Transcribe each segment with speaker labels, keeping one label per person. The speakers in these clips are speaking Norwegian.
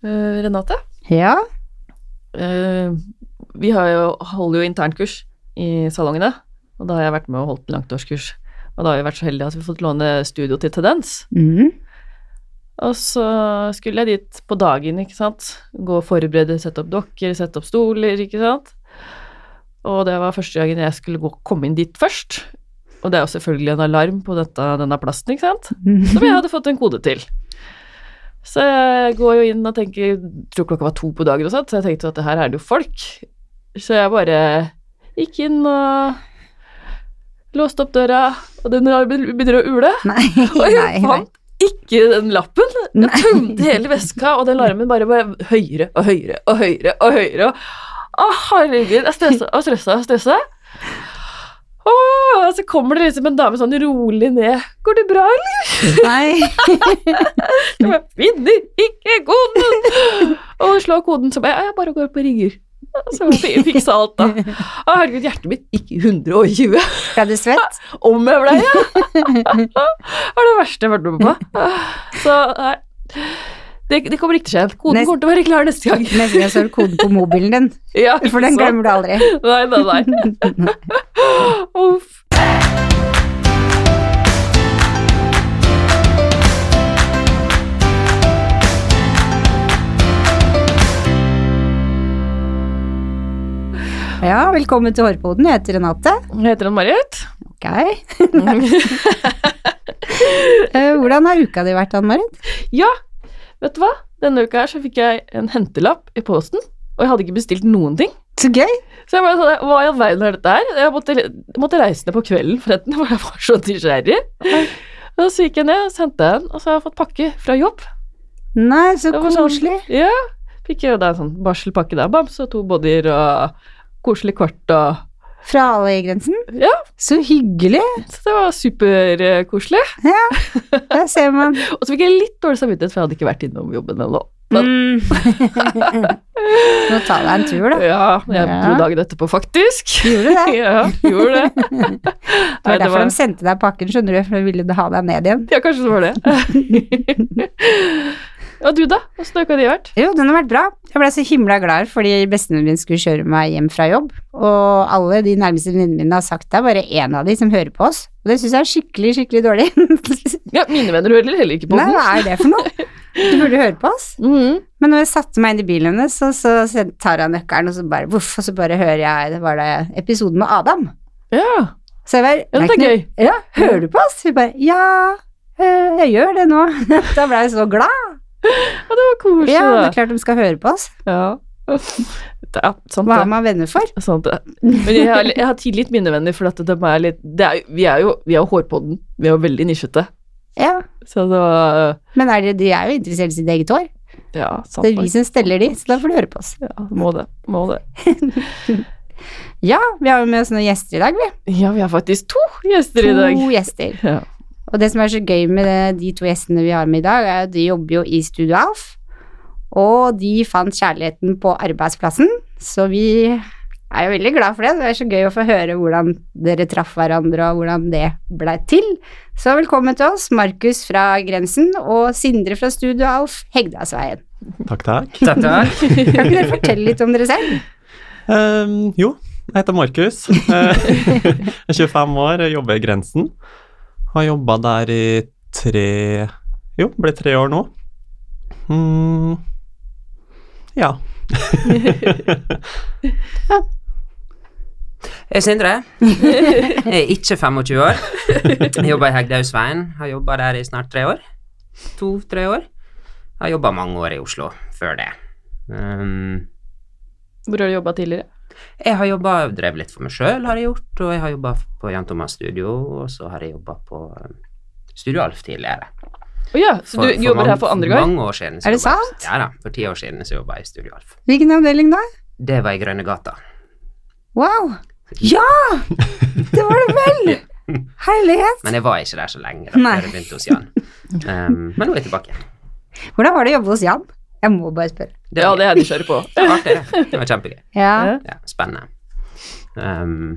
Speaker 1: Eh, Renate,
Speaker 2: Ja.
Speaker 1: eh, vi har jo, holder jo internkurs i salongene, og da har jeg vært med og holdt langtårskurs. Og da har vi vært så heldige at vi har fått låne studio til Tendens.
Speaker 2: Mhm.
Speaker 1: Og så skulle jeg dit på dagen, ikke sant. Gå og forberede, sette opp dokker, sette opp stoler, ikke sant. Og det var første gangen jeg skulle gå, komme inn dit først. Og det er jo selvfølgelig en alarm på dette, denne plassen, ikke sant. Som jeg hadde fått en kode til. Så jeg går jo inn og tenker Tror klokka var to på dagen og sånt, så jeg tenkte at det her er det jo folk. Så jeg bare gikk inn og låste opp døra, og den begynner å ule.
Speaker 2: Nei,
Speaker 1: Og
Speaker 2: nei,
Speaker 1: jeg
Speaker 2: nei.
Speaker 1: fant ikke den lappen.
Speaker 2: Nei.
Speaker 1: Jeg tømte hele veska, og den larmen bare var høyere og høyere og høyere. og høyere. Å, herregud. Jeg stressa og stressa og stressa. Åh, Og så kommer det liksom en dame sånn rolig ned. 'Går det bra, eller?'
Speaker 2: nei.
Speaker 1: Jeg bare, 'Finner ikke koden!' Og slår koden som jeg, 'Jeg bare går opp og ringer'. Så jeg fiksa alt, da. Å, herregud, hjertet mitt gikk i 120
Speaker 2: Ble du svett?
Speaker 1: om jeg blei, ja. det var det verste jeg har vært med på. Så nei. Det, det kommer ikke til å skje. Koden
Speaker 2: Nest-
Speaker 1: kommer til å være klar neste gang.
Speaker 2: Neste gang så har du koden på mobilen din,
Speaker 1: Ja,
Speaker 2: for den
Speaker 1: ikke sant?
Speaker 2: glemmer du aldri.
Speaker 1: Nei, nei, nei. Uff.
Speaker 2: Ja, velkommen til Hårpoden. Jeg heter Renate.
Speaker 1: Heter hun Marit?
Speaker 2: Ok. Eh, Hvordan har uka di vært, Ann Marit?
Speaker 1: Ja, vet du hva? Denne uka her så fikk jeg en hentelapp i posten, og jeg hadde ikke bestilt noen ting.
Speaker 2: Så gøy.
Speaker 1: Så jeg bare sånn, hva i all verden er dette her? Jeg måtte, måtte reise ned på kvelden forresten, for jeg var så nysgjerrig. Og så gikk jeg ned, og sendte jeg den, og så har jeg fått pakke fra jobb.
Speaker 2: Nei, så
Speaker 1: Det var sånn-
Speaker 2: koselig.
Speaker 1: Ja, fikk jo da en sånn barselpakke der, bamse og to bodyer og koselig kort og
Speaker 2: Fra alle i grensen.
Speaker 1: Ja.
Speaker 2: Så hyggelig.
Speaker 1: Så det var superkoselig.
Speaker 2: Der ser man.
Speaker 1: Og så fikk jeg litt dårlig samvittighet, for jeg hadde ikke vært innom jobben ennå.
Speaker 2: Mm. Må ta deg en tur, da.
Speaker 1: Ja, jeg
Speaker 2: Ja.
Speaker 1: dro dagen etterpå, faktisk.
Speaker 2: Gjorde du det?
Speaker 1: Ja, gjorde det.
Speaker 2: Det
Speaker 1: Nei,
Speaker 2: var derfor de sendte deg pakken, skjønner du, for de ville ha deg ned igjen.
Speaker 1: Ja, kanskje det var det. Og du, da? Åssen har uka di vært?
Speaker 2: Jo, den har vært bra. Jeg ble så himla glad fordi bestemoren min skulle kjøre meg hjem fra jobb. Og alle de nærmeste venninnene mine har sagt det, er bare én av de som hører på oss. Og det syns jeg er skikkelig, skikkelig dårlig.
Speaker 1: Ja, mine venner hører heller ikke på
Speaker 2: Nei,
Speaker 1: den.
Speaker 2: hva er det for noe? Du burde høre på oss.
Speaker 1: Mhm.
Speaker 2: Men når jeg satte meg inn i bilen hennes, så, så send- tar jeg nøkkelen, og så bare voff, og så bare hører jeg Det var da episoden med Adam.
Speaker 1: Ja,
Speaker 2: Så jeg bare
Speaker 1: ja, det er
Speaker 2: «Nei,
Speaker 1: gøy.
Speaker 2: Knut, Ja, hører du på oss? Hun bare Ja, øh, jeg gjør det nå. da ble jeg så glad.
Speaker 1: Ja, det var koselig.
Speaker 2: Ja, det
Speaker 1: da.
Speaker 2: er klart de skal høre på oss.
Speaker 1: Ja. Ja, sant det.
Speaker 2: Hva er man venner for?
Speaker 1: Sant det. Men jeg har, jeg har tilgitt mine venner, for at de er litt det er, Vi er jo vi er jo hårpodden. Vi er jo veldig nisjete.
Speaker 2: Ja.
Speaker 1: Så det var
Speaker 2: Men er det, de er jo interessert i sitt eget hår.
Speaker 1: Ja, sant
Speaker 2: Det er vi
Speaker 1: nok.
Speaker 2: som steller de, så da får du høre på oss.
Speaker 1: Ja, må det. Må det.
Speaker 2: Ja, vi har jo med oss noen gjester i dag, vi.
Speaker 1: Ja, vi har faktisk to gjester i dag.
Speaker 2: To gjester.
Speaker 1: Ja.
Speaker 2: Og det som er så gøy med det, de to gjestene vi har med i dag, er at de jobber jo i Studio Alf, og de fant kjærligheten på arbeidsplassen, så vi er jo veldig glad for det. Det er så gøy å få høre hvordan dere traff hverandre, og hvordan det blei til. Så velkommen til oss, Markus fra Grensen og Sindre fra Studio Alf, Hegdasveien.
Speaker 3: Takk, takk.
Speaker 2: Kan ikke dere fortelle litt om dere selv?
Speaker 3: Ehm, jo, jeg heter Markus. Eh, Jeg er 25 år, jeg jobber i Grensen. Har jobba der i tre Jo, ble tre år nå. Mm, ja.
Speaker 4: Jeg er Sindre. Jeg er ikke 25 år. Jeg jobber i Hegdehaugsveien. Har jobba der i snart tre år. To-tre år. Har jobba mange år i Oslo før det. Um,
Speaker 1: Hvor har du jobba tidligere?
Speaker 4: jeg har jobba drevet litt for meg sjøl, har jeg gjort, og jeg har jobba på Jan Thomas Studio, og så har jeg jobba på um, Studio Alf tidligere.
Speaker 1: Å ja, så du jobber her for andre gang?
Speaker 4: Mange år siden. så
Speaker 2: Er det
Speaker 4: jobba jeg-
Speaker 2: sant?
Speaker 4: Ja da. For ti år siden så jobba jeg i Studio Alf.
Speaker 2: Hvilken avdeling da?
Speaker 4: Det var i Grønne gata.
Speaker 2: Wow! Ja! Det var det vel! Herlighet!
Speaker 4: Men jeg var ikke der så lenge da
Speaker 2: Nei.
Speaker 4: før jeg begynte hos Jan. Um, men nå er jeg tilbake.
Speaker 2: Hvordan var det å jobbe hos Jan? Jeg må bare spørre.
Speaker 4: var
Speaker 1: Ja, det er jeg nysgjerrig på.
Speaker 4: Det var artig, det. Det var kjempegøy.
Speaker 2: Ja.
Speaker 4: Ja, spennende. Ehm,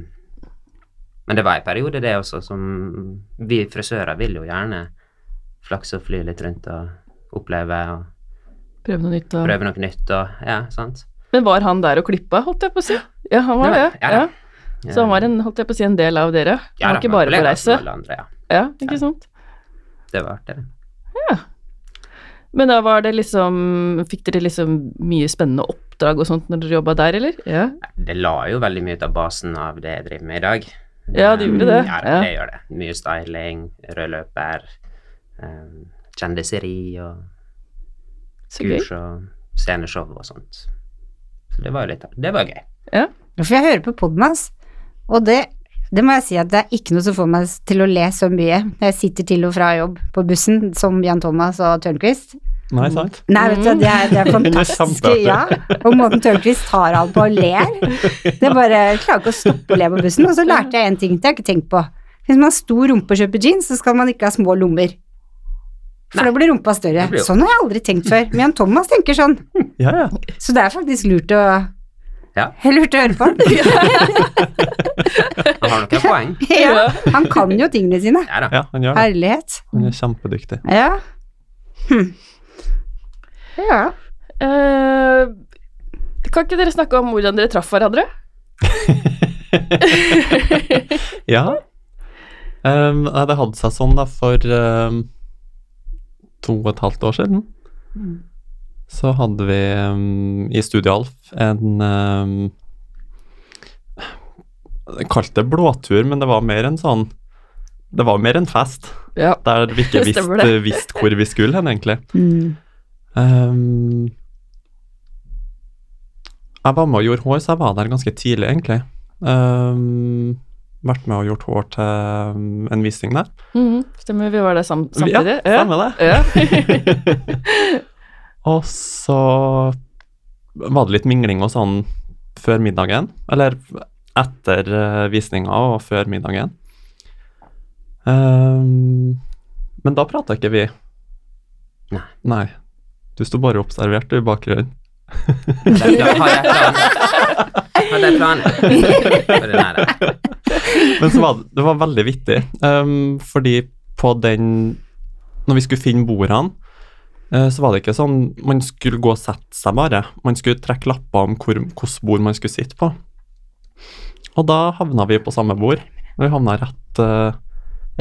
Speaker 4: men det var en periode, det også, som Vi frisører vil jo gjerne flakse og fly litt rundt og oppleve og
Speaker 1: Prøve noe nytt. Og...
Speaker 4: prøve noe nytt og Ja, sant.
Speaker 1: Men var han der og klippa, holdt jeg på å si? Ja, han var det.
Speaker 4: Det var- ja da.
Speaker 1: Ja. Så han var en, holdt jeg på å si, en del av dere?
Speaker 4: Ja,
Speaker 1: han var
Speaker 4: da,
Speaker 1: ikke
Speaker 4: men
Speaker 1: bare på
Speaker 4: kollega som
Speaker 1: reise?
Speaker 4: alle andre, ja.
Speaker 1: Ja, ikke
Speaker 4: Ja.
Speaker 1: sant?
Speaker 4: Det var artig. det.
Speaker 1: Men da var det liksom Fikk dere liksom mye spennende oppdrag og sånt når dere jobba der, eller? Ja.
Speaker 4: Det la jo veldig mye ut av basen av det jeg driver med i dag. Ehm,
Speaker 1: Ja, det gjorde det.
Speaker 4: Ja,
Speaker 1: Ja.
Speaker 4: det gjør det. Mye styling, rød løper, eh, kjendiseri og
Speaker 1: Så gøy.
Speaker 4: kurs og sceneshow og sånt. Så det var jo litt av Det var gøy.
Speaker 2: For jeg hører på poden hans, og det, det må jeg si at det er ikke noe som får meg til å le så mye når jeg sitter til og fra jobb på bussen, som Jan Thomas og Tørnquist.
Speaker 3: Nei, sant?
Speaker 2: Nei, vet du, hva, det er, det er fantastisk.
Speaker 3: samtaler.
Speaker 2: Ja, og måten Tørnquist tar han på og ler. Det er bare jeg klarer ikke å stoppe å le på bussen. Og så lærte jeg en ting det har jeg ikke tenkt på. Hvis man har stor rumpe og kjøper jeans, så skal man ikke ha små lommer. For da blir rumpa større.
Speaker 4: Det blir jo-
Speaker 2: Sånn har jeg aldri tenkt før. Men Jan Thomas tenker sånn.
Speaker 3: Ja, ja.
Speaker 2: Så det er faktisk lurt å
Speaker 4: Ja.
Speaker 2: Lurt å høre på.
Speaker 4: Han har noen poeng.
Speaker 2: Ja, han kan jo tingene sine.
Speaker 4: Ja da.
Speaker 3: ja han gjør det.
Speaker 2: Herlighet.
Speaker 3: Han er kjempedyktig.
Speaker 2: Ja. Hm. Ja.
Speaker 1: Eh, kan ikke dere snakke om hvordan dere traff hverandre?
Speaker 3: Ja. Ehm, nei, det hadde seg sånn da for ehm, to og et halvt år siden.
Speaker 1: Mm.
Speaker 3: Så hadde vi ehm, i Studio Alf en ehm, Jeg kalte det blåtur, men det var mer en sånn Det var mer en fest
Speaker 1: Ja.
Speaker 3: der vi ikke visste
Speaker 1: Stemmer det.
Speaker 3: visste hvor vi skulle hen, egentlig. Ehm, jeg var med og gjorde hår, så jeg var der ganske tidlig, egentlig. Ehm, vært med og gjort hår til ehm, en visning der.
Speaker 1: Mhm, stemmer, vi var der sam samtidig.
Speaker 3: Ja, stemmer det.
Speaker 1: Ja.
Speaker 3: Og så var det litt mingling og sånn før middagen, eller etter eh, visninga og før middagen. Ehm, men da prata ikke vi.
Speaker 4: Nei.
Speaker 3: Nei. Du sto bare observert du, i bakgrunnen.
Speaker 4: Da har jeg planer. Hadde jeg planer. For den her, da.
Speaker 3: Men så var det, det var veldig vittig, ehm, fordi på den Når vi skulle finne bordene, eh, så var det ikke sånn Man skulle gå og sette seg, bare. Man skulle trekke lapper om hvor- hvilket bord man skulle sitte på. Og da havna vi på samme bord. Vi havna rett, eh,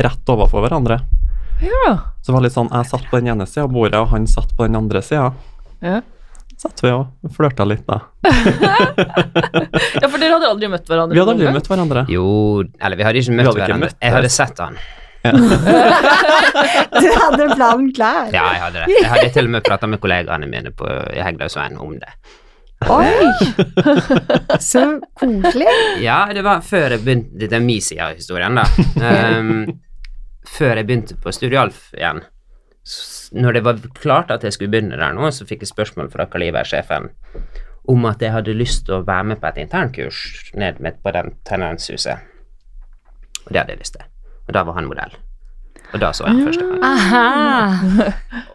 Speaker 3: rett overfor hverandre.
Speaker 1: Ja.
Speaker 3: Så det var litt sånn Jeg satt på den ene sida av bordet, og han satt på den andre sida.
Speaker 1: Ja.
Speaker 3: Satt vi og flørta litt, da.
Speaker 1: ja, for dere hadde aldri møtt hverandre?
Speaker 3: Vi
Speaker 1: noen
Speaker 3: hadde aldri møtt hverandre.
Speaker 4: Jo Eller vi hadde ikke
Speaker 3: Vi
Speaker 4: møtt
Speaker 3: hadde ikke
Speaker 4: hverandre.
Speaker 3: møtt.
Speaker 4: Jeg hadde sett han.
Speaker 2: Du hadde planen klar.
Speaker 4: Ja, jeg hadde det. Jeg hadde til og med prata med kollegaene mine på i Hegdalsveien om det.
Speaker 2: Oi! Så koselig.
Speaker 4: Ja, det var før jeg begynte Dette er min side av historien, da. Ehm, før jeg begynte på Studio Alf igjen. s- Når det var klart at jeg skulle begynne der nå, så fikk jeg spørsmål fra Karl Iver-sjefen om at jeg hadde lyst til å være med på et internkurs ned med på den tendenshuset. Og det hadde jeg lyst til. Og da var han modell. Og da så jeg han første gang.
Speaker 2: Aha.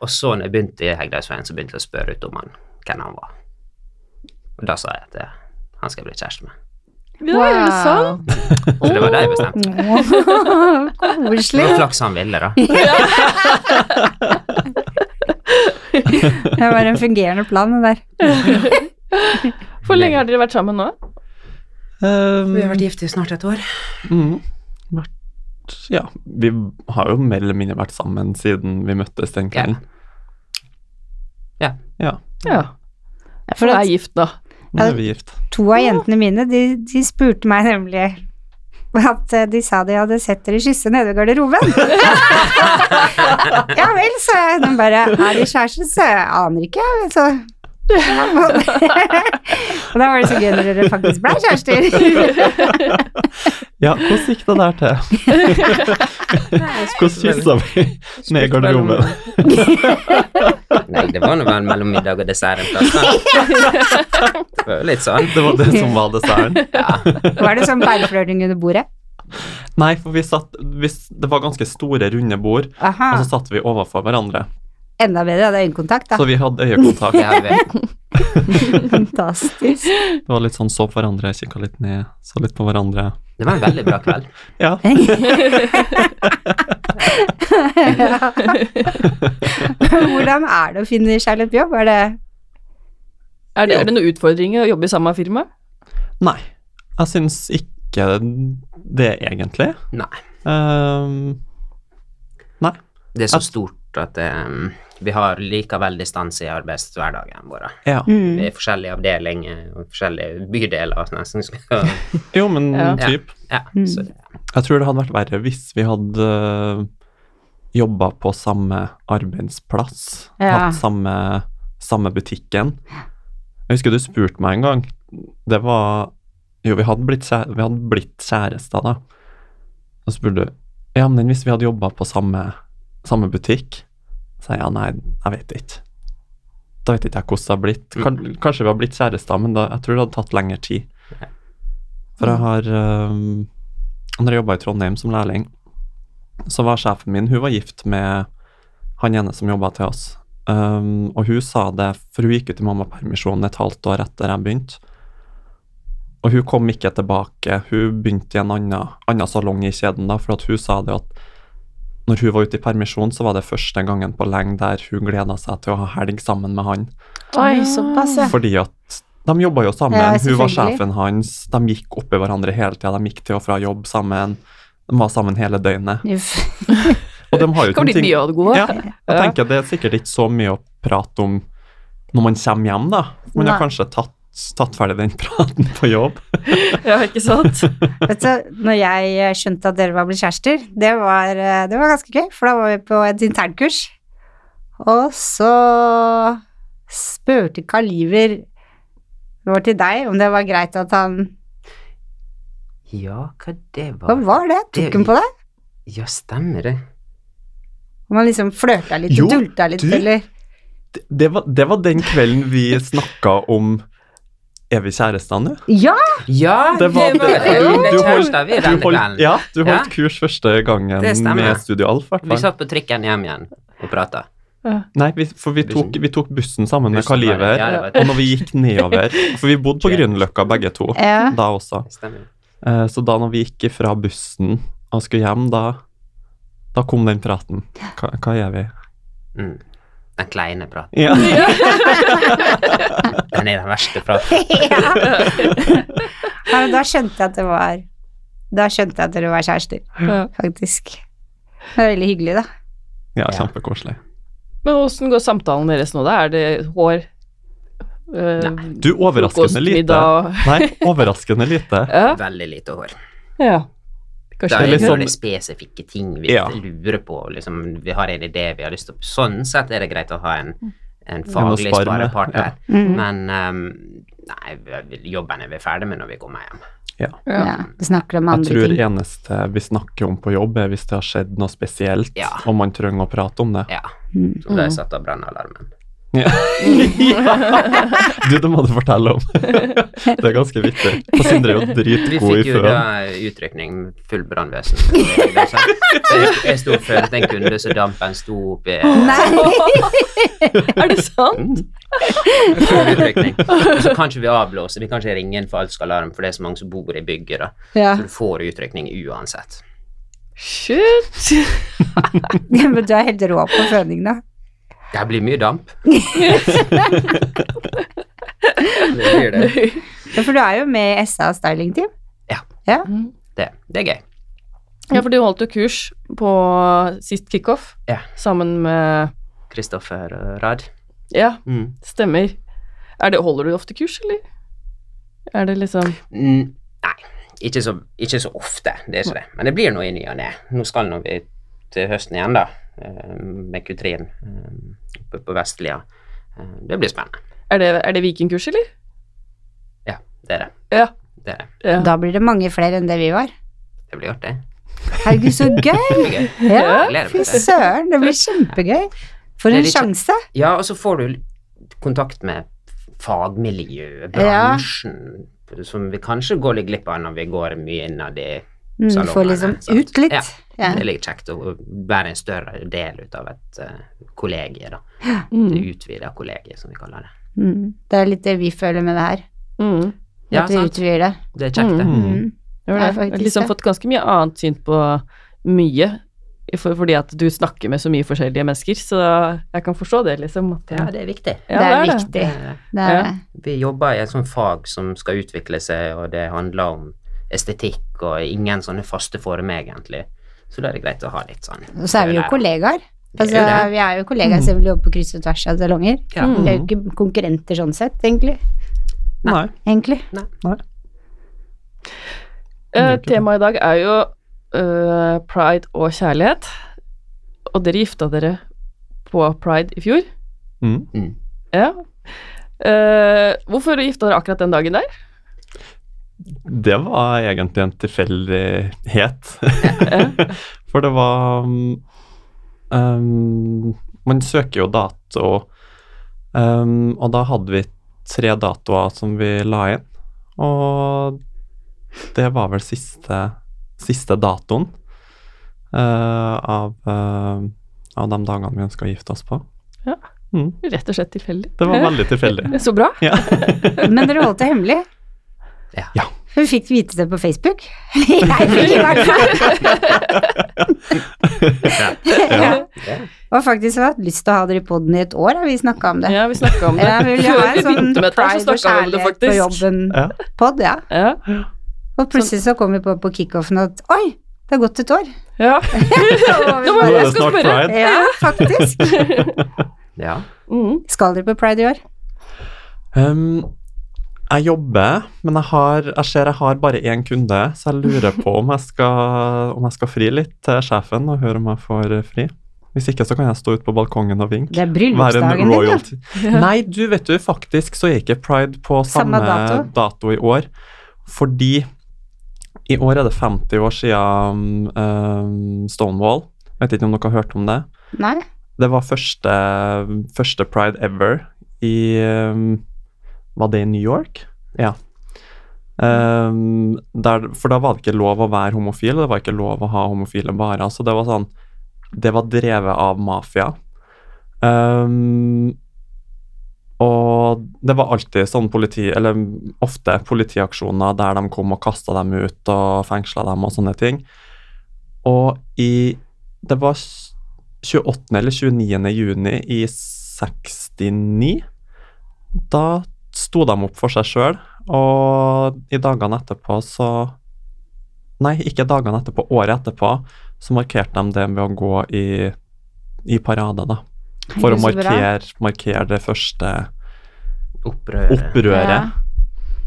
Speaker 4: Og så når jeg begynte i Hegdalsveien, så begynte jeg å spørre ut om han, hvem han var. Og da sa jeg at eh, han skal jeg bli kjæreste med.
Speaker 1: gang. Ja, er det sant?
Speaker 4: Så det var det jeg bestemte.
Speaker 2: Wow.
Speaker 4: Det
Speaker 2: Koselig.
Speaker 4: var flaks han ville, da.
Speaker 2: Det var en fungerende plan, det der.
Speaker 1: Hvor lenge har dere vært sammen nå?
Speaker 3: Ehm,
Speaker 4: Vi har vært gift i snart et år.
Speaker 3: Mm. Vært, ja, vi har jo mer eller mindre vært sammen siden vi møttes den
Speaker 4: Ja.
Speaker 3: kvelden.
Speaker 4: Ja.
Speaker 3: Ja,
Speaker 1: Ja. For
Speaker 2: For
Speaker 1: dere
Speaker 2: at-
Speaker 1: er gift nå.
Speaker 3: nå er vi gift.
Speaker 2: To av jentene mine, de, de spurte meg nemlig at eh, de sa de hadde sett dere kysse nede ved garderoben. ja vel, sa jeg. De bare Er de kjærester? Så jeg aner ikke, jeg. Så Ja, men- Og da var det så gøy når dere faktisk ble kjærester.
Speaker 3: Ja, hvordan gikk det der til? Hvordan kyssa vi ned i garderoben?
Speaker 4: Nei, det var nå vel mellom middag og dessert en plass. da. Det var jo litt sånn.
Speaker 3: Det var det som var desserten.
Speaker 2: var det sånn beinflørting under bordet?
Speaker 3: Nei, for vi satt vi, s- Det var ganske store, runde bord, og
Speaker 2: Aha.
Speaker 4: Altså-
Speaker 3: så satt vi overfor hverandre.
Speaker 2: Enda bedre, det er øyekontakt, da.
Speaker 3: Så vi hadde øyekontakt.
Speaker 4: Ja, vi-
Speaker 2: Fantastisk.
Speaker 3: Det var litt sånn så på hverandre, kikka litt ned, så litt på hverandre.
Speaker 4: Det var en veldig bra kveld.
Speaker 3: Ja,
Speaker 2: Ja. Hvordan er det å finne kjærlighet på jobb? Er det
Speaker 1: Er det, er det noen utfordringer å jobbe i samme firma?
Speaker 3: Nei, jeg syns ikke det egentlig.
Speaker 4: Nei.
Speaker 3: Ehm,
Speaker 4: Det er så stort at eh, vi har likevel distanse i arbeidshverdagen vår.
Speaker 3: ja.
Speaker 2: Mm.
Speaker 4: Det er forskjellige avdelinger og forskjellige bydeler. og sånn, som skal-
Speaker 3: Jo, men
Speaker 1: Ja.
Speaker 3: typ.
Speaker 4: Ja,
Speaker 2: Mm.
Speaker 4: så det,
Speaker 3: Jeg tror det hadde vært verre hvis vi hadde jobba på samme arbeidsplass,
Speaker 2: Ja.
Speaker 3: hatt samme, samme butikken. Jeg husker du spurte meg en gang. Det var Jo, vi hadde blitt, kjære, vi hadde blitt kjærester da. Og så spurte du Ja, men hvis vi hadde jobba på samme, samme butikk, så jeg ja, nei, jeg vet ikke. Da vet ikke jeg hvordan det har blitt. Kan- Kanskje vi har blitt kjærester, men da, jeg tror det hadde tatt lengre tid. For jeg har eh, øhm, Når jeg jobba i Trondheim som lærling, så var sjefen min Hun var gift med han ene som jobba til oss. Øhm, og hun sa det, for hun gikk ut i mammapermisjon et halvt år etter jeg begynte. Og hun kom ikke tilbake. Hun begynte i en annen, annen salong i kjeden, da, for at hun sa det at når hun var ute i permisjon, så var det første gangen på lenge der hun gleda seg til å ha helg sammen med han.
Speaker 2: Oi, såpass, ja.
Speaker 3: Fordi at de jobba jo sammen,
Speaker 2: Ja,
Speaker 3: hun var
Speaker 2: selvfølgelig.
Speaker 3: sjefen hans, de gikk oppi hverandre hele tida, de gikk til og fra jobb sammen, de var sammen hele døgnet.
Speaker 2: Uff.
Speaker 3: Og de har jo
Speaker 1: Kommer litt mye av det gode.
Speaker 3: Ja, jeg
Speaker 1: Ja.
Speaker 3: tenker det er sikkert ikke så mye å prate om når man kommer hjem, da. Man har
Speaker 2: Nei.
Speaker 3: kanskje tatt, tatt ferdig den praten på jobb.
Speaker 1: Ja, ikke sant?
Speaker 2: Vet du, når jeg eh, skjønte at dere var blitt kjærester, det var, eh, det var ganske gøy, for da var vi på et internkurs. Og så spurte Karl Iver det var til deg om det var greit at han
Speaker 4: ja, hva det var
Speaker 2: Hva var det? Tok han på deg?
Speaker 4: Ja, stemmer det.
Speaker 2: Om han liksom flørta litt
Speaker 3: Jo,
Speaker 2: og dulta litt,
Speaker 3: du-
Speaker 2: eller
Speaker 3: Det, det, var, det var den kvelden vi snakka om Er vi kjærester nå?
Speaker 2: Ja!
Speaker 4: Ja,
Speaker 3: Det var det.
Speaker 4: det
Speaker 3: Du- du holdt-
Speaker 4: kjæreste vi
Speaker 3: Du
Speaker 4: denne
Speaker 3: holdt,
Speaker 4: kvelden.
Speaker 3: ja, du holdt
Speaker 4: Ja.
Speaker 3: kurs første gangen
Speaker 4: Det stemmer.
Speaker 3: med Studio Alf, i hvert
Speaker 4: Vi
Speaker 3: fall.
Speaker 4: satt på trikken hjem igjen og prata.
Speaker 3: Nei, vi, for vi tok, vi tok bussen sammen med Karl Iver.
Speaker 4: Ja, det var
Speaker 3: Og når vi gikk nedover For vi bodde på Grünerløkka begge to
Speaker 2: Ja.
Speaker 3: da også.
Speaker 4: Stemmer.
Speaker 3: Eh, Så da når vi gikk fra bussen og skulle hjem, da, da kom den praten. Hva, hva gjør vi?
Speaker 4: Mm. Den kleine praten.
Speaker 3: Ja.
Speaker 4: Den er den verste praten.
Speaker 2: ja. Nei, men da skjønte jeg at det var Da skjønte jeg at dere var kjærester,
Speaker 1: Ja.
Speaker 2: faktisk. Det var veldig hyggelig, da.
Speaker 3: ja, kjempekoselig.
Speaker 1: Men åssen går samtalen deres nå, da? Er det hår? eh,
Speaker 3: Du, overraskende
Speaker 1: frokost,
Speaker 3: lite.
Speaker 1: middag?
Speaker 3: Nei, overraskende lite.
Speaker 1: Ja.
Speaker 4: Veldig lite hår.
Speaker 1: ja.
Speaker 4: Da
Speaker 1: Kanskje
Speaker 4: er
Speaker 1: det er
Speaker 4: det
Speaker 1: litt
Speaker 3: liksom-
Speaker 1: sånn
Speaker 4: sånne spesifikke ting vi
Speaker 3: Ja.
Speaker 4: lurer på. Liksom, vi har en idé vi har lyst til å Sånn sett er det greit å ha en, en
Speaker 3: å
Speaker 4: faglig
Speaker 3: spare med,
Speaker 4: sparepartner.
Speaker 2: Mm.
Speaker 4: Men ehm, nei, vi- jobben er vi ferdig med når vi kommer hjem.
Speaker 1: Ja.
Speaker 2: Ja, du snakker om
Speaker 3: Jeg
Speaker 2: andre
Speaker 3: tror
Speaker 2: ting.
Speaker 3: eneste vi snakker om på jobb, er hvis det har skjedd noe spesielt,
Speaker 4: Ja.
Speaker 3: og man trenger å prate om det.
Speaker 4: Ja.
Speaker 2: Mm.
Speaker 4: Så da har
Speaker 1: Mm.
Speaker 4: jeg satt av brannalarmen.
Speaker 3: Du, det må du fortelle om. Det er ganske vittig. Og Sindre er jo
Speaker 4: Vi
Speaker 3: dritgod i
Speaker 4: fikk jo
Speaker 3: føen.
Speaker 4: da utrykning, full brannvesen. Jeg- Jeg sto og følte en kunde, så dampen sto oppi
Speaker 1: Er det sant?
Speaker 4: full utrykning. Og så kan ikke vi avblåse, vi kan ikke ringe en falsk alarm, for det er så mange som bor i bygget, da.
Speaker 2: Ja.
Speaker 4: Så du får utrykning uansett.
Speaker 1: Shit!
Speaker 2: Men du er helt rå på føning, da.
Speaker 4: Det blir mye damp. det blir det.
Speaker 2: Ja, for du er jo med i SA stylingteam.
Speaker 4: Det, det er gøy.
Speaker 1: Ja, for du holdt jo kurs på sist kickoff
Speaker 4: Ja.
Speaker 1: sammen med
Speaker 4: Kristoffer og eh, Rad.
Speaker 1: Ja,
Speaker 4: Mm.
Speaker 1: stemmer. Er det, holder du ofte kurs, eller? Er det liksom
Speaker 4: Mm, Nei, ikke så, ikke så ofte, det er ikke det. Men det blir noe i ny og ne. Nå skal nå vi til høsten igjen, da, eh, med Kutrin eh, oppe på Vestlia. Eh, Det blir spennende.
Speaker 1: Er det, er det vikingkurs, eller?
Speaker 4: Det er det.
Speaker 1: Ja.
Speaker 4: Det, er det.
Speaker 1: Ja.
Speaker 2: Da blir det mange flere enn det vi var.
Speaker 4: det blir artig.
Speaker 2: Herregud, så gøy!
Speaker 4: Det blir gøy.
Speaker 2: Ja,
Speaker 4: Jeg gleder
Speaker 2: fy
Speaker 4: meg til det.
Speaker 2: søren, det blir kjempegøy. For
Speaker 4: Det er
Speaker 2: en
Speaker 4: litt-
Speaker 2: sjanse.
Speaker 4: Ja, og så får du kontakt med fagmiljøet,
Speaker 2: Ja.
Speaker 4: bransjen, som vi kanskje går litt glipp av når vi går mye innad i
Speaker 2: Mm, Du
Speaker 4: salongene.
Speaker 2: får liksom
Speaker 4: sant?
Speaker 2: ut litt.
Speaker 4: Ja.
Speaker 2: Ja.
Speaker 4: Det er litt kjekt å være en større del ut av et eh, kollegie, da.
Speaker 1: Mm.
Speaker 4: Det utvida kollegiet, som vi kaller det.
Speaker 2: Mm. Det er litt det vi føler med det her.
Speaker 1: Mm.
Speaker 4: Ja,
Speaker 2: at vi
Speaker 4: sant.
Speaker 2: utvider det.
Speaker 4: Det er kjekt, det.
Speaker 3: Mm.
Speaker 2: Mm.
Speaker 1: Det var
Speaker 2: Nei,
Speaker 1: det. Jeg har
Speaker 2: faktisk
Speaker 1: liksom
Speaker 2: det.
Speaker 1: fått ganske mye annet syn på mye, for, fordi at du snakker med så mye forskjellige mennesker, så jeg kan forstå det, liksom. At,
Speaker 4: Ja, det er viktig.
Speaker 1: Ja,
Speaker 2: det er
Speaker 1: det.
Speaker 2: viktig.
Speaker 4: Det-
Speaker 2: Det er
Speaker 1: Ja.
Speaker 2: det.
Speaker 4: Vi jobber i et sånt fag som skal utvikle seg, og det handler om estetikk og ingen sånne faste former, egentlig. Så da er det greit å ha litt sånn
Speaker 2: Og så er vi jo kollegaer.
Speaker 4: Vi er
Speaker 2: Altså,
Speaker 4: jo det.
Speaker 2: vi er jo
Speaker 3: Mm.
Speaker 2: kollegaer selv om vi jobber på kryss og tvers av salonger.
Speaker 4: Ja.
Speaker 2: Vi er jo ikke konkurrenter sånn sett, egentlig.
Speaker 3: Nei.
Speaker 2: egentlig.
Speaker 1: Eh,
Speaker 3: Lurt, ja.
Speaker 1: temaet i dag er jo eh, pride og kjærlighet. Og dere gifta dere på pride i fjor.
Speaker 3: Mm.
Speaker 4: Mm.
Speaker 1: Ja. Eh, hvorfor gifta dere akkurat den dagen der?
Speaker 3: Det var egentlig en tilfeldighet. For det var um, um, Man søker jo dato, um, og da hadde vi tre datoer som vi la inn. Og det var vel siste, siste datoen eh, av, eh, av de dagene vi ønska å gifte oss på.
Speaker 1: Ja.
Speaker 3: Mm,
Speaker 1: Rett og slett tilfeldig.
Speaker 3: det var veldig tilfeldig.
Speaker 1: Så bra.
Speaker 3: Ja.
Speaker 2: Men dere holdt det hemmelig.
Speaker 4: Ja.
Speaker 3: Ja.
Speaker 2: Hun fikk vite det på Facebook. Jeg fikk i hvert fall. Ja.
Speaker 4: Ja.
Speaker 2: Og faktisk har hatt lyst til å ha dere i poden i et år, har vi snakka om det.
Speaker 1: Ja, vi snakka om det.
Speaker 2: Ja, vi ville ha en
Speaker 1: Før vi
Speaker 2: sånn
Speaker 1: begynte med dette her,
Speaker 2: pride
Speaker 1: så snakket vi om
Speaker 2: og
Speaker 1: det
Speaker 2: kjærlighet på
Speaker 1: faktisk.
Speaker 3: Ja.
Speaker 2: jobben-pod, ja.
Speaker 1: Ja.
Speaker 2: Og plutselig så kom vi på på kickoffen at oi, det har gått et år.
Speaker 1: ja.
Speaker 2: Og vi
Speaker 1: Nå
Speaker 3: Nå
Speaker 1: var
Speaker 3: er
Speaker 2: bare,
Speaker 3: det
Speaker 1: Jeg skal
Speaker 3: snart
Speaker 1: spørre.
Speaker 3: pride.
Speaker 2: ja, faktisk.
Speaker 4: ja.
Speaker 1: Mm.
Speaker 2: Skal dere på pride i år?
Speaker 3: Um, jeg jobber, men jeg, har, jeg ser jeg har bare én kunde, så jeg lurer på om jeg, skal, om jeg skal fri litt til sjefen og høre om jeg får eh, fri. Hvis ikke så kan jeg stå ute på balkongen og vinke.
Speaker 2: Det er
Speaker 3: Være en
Speaker 2: bryllupsdagen din, ja.
Speaker 3: royalty. Nei, du vet du, faktisk så er ikke pride på
Speaker 2: Samme
Speaker 3: samme,
Speaker 2: dato.
Speaker 3: dato. i år. Fordi i år er det 50 år siden um, Stonewall. Vet ikke om dere har hørt om det.
Speaker 2: Nei.
Speaker 3: Det var første, første pride ever i um, Var det i New York? Ja. Um, der, for da var det ikke lov å være homofil, og det var ikke lov å ha homofile barer. Så det var sånn Det var drevet av mafia. Um, og det var alltid sånn politi, eller ofte politiaksjoner der de kom og kasta dem ut og fengsla dem og sånne ting. Og i Det var s- 28. eller 29. juni i 69. Da sto de opp for seg sjøl, og i dagene etterpå så Nei, ikke dagene etterpå, året etterpå, så markerte de det med å gå i, i parade, da. For å
Speaker 2: Så bra.
Speaker 3: markere, markere det første
Speaker 4: Opprøret.
Speaker 3: opprøret.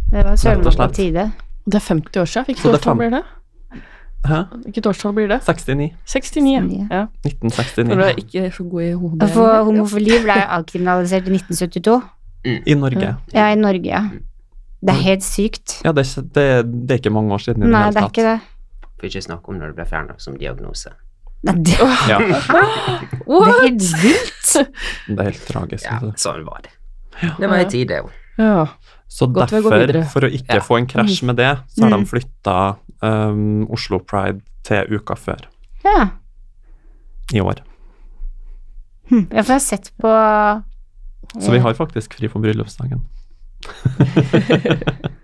Speaker 2: Det var
Speaker 3: Rett og
Speaker 2: søren på
Speaker 3: slett.
Speaker 2: tide.
Speaker 1: Det er 50 år siden. Hvilket
Speaker 3: Så det er
Speaker 1: årstall
Speaker 3: fem-
Speaker 1: blir det?
Speaker 3: Hæ?
Speaker 1: Hvilket årstall blir det?
Speaker 3: 69.
Speaker 1: 69. Ja. For du
Speaker 3: 1969.
Speaker 1: er ikke så god i hodet.
Speaker 2: For homofili ble jo avkriminalisert i 1972.
Speaker 3: I Norge.
Speaker 2: Ja, i Norge, ja. Det er helt sykt.
Speaker 3: Ja, det er, ikke- det, er- det er ikke mange år siden i det
Speaker 2: Nei,
Speaker 3: hele
Speaker 2: det er
Speaker 3: tatt.
Speaker 2: ikke det.
Speaker 4: Får ikke snakke om når det ble fjerna som diagnose.
Speaker 2: Nei, det,
Speaker 3: Ja,
Speaker 2: det
Speaker 1: What?
Speaker 2: er helt vilt.
Speaker 3: det er helt tragisk.
Speaker 4: Ja,
Speaker 3: altså.
Speaker 4: sånn var det. Det var i tide, jo.
Speaker 1: Ja.
Speaker 3: Så
Speaker 1: Godt vi går videre.
Speaker 3: derfor, for å ikke
Speaker 4: Ja.
Speaker 3: få en krasj med det, så har de
Speaker 2: Mm.
Speaker 3: flytta um, Oslo Pride til uka før
Speaker 2: Ja.
Speaker 3: i år.
Speaker 2: Hm, ja, for jeg har sett på
Speaker 3: Så vi har faktisk fri på bryllupsdagen.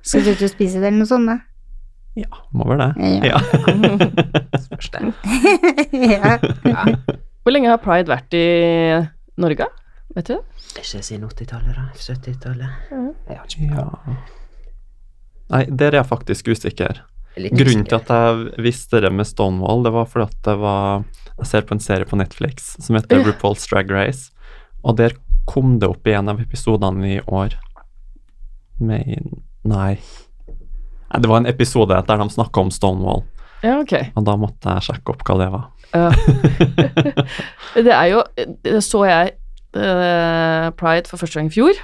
Speaker 2: Skal du ut og spise det, eller noe sånt? da?
Speaker 3: Ja, må vel det.
Speaker 2: Ja.
Speaker 3: Ja.
Speaker 4: Spørs det.
Speaker 2: ja.
Speaker 4: Ja.
Speaker 1: Hvor lenge har pride vært i Norge? Vet du det?
Speaker 4: Ikke siden 80-tallet, da. 70-tallet. Jeg har ikke
Speaker 3: ja. Nei, der er jeg faktisk usikker.
Speaker 4: jeg er litt
Speaker 3: Grunnen til at
Speaker 4: usikker.
Speaker 3: jeg visste det med Stonewall, det var fordi at det var Jeg ser på en serie på Netflix som heter
Speaker 1: Ja.
Speaker 3: RuPaul's Drag Race, og der kom det opp i en av episodene i år med Nei. Nei, Det var en episode der de snakka om Stonewall,
Speaker 1: Ja, ok.
Speaker 3: og da måtte jeg sjekke opp hva det var.
Speaker 1: Ja. det er jo det Så jeg eh, pride for første gang i fjor,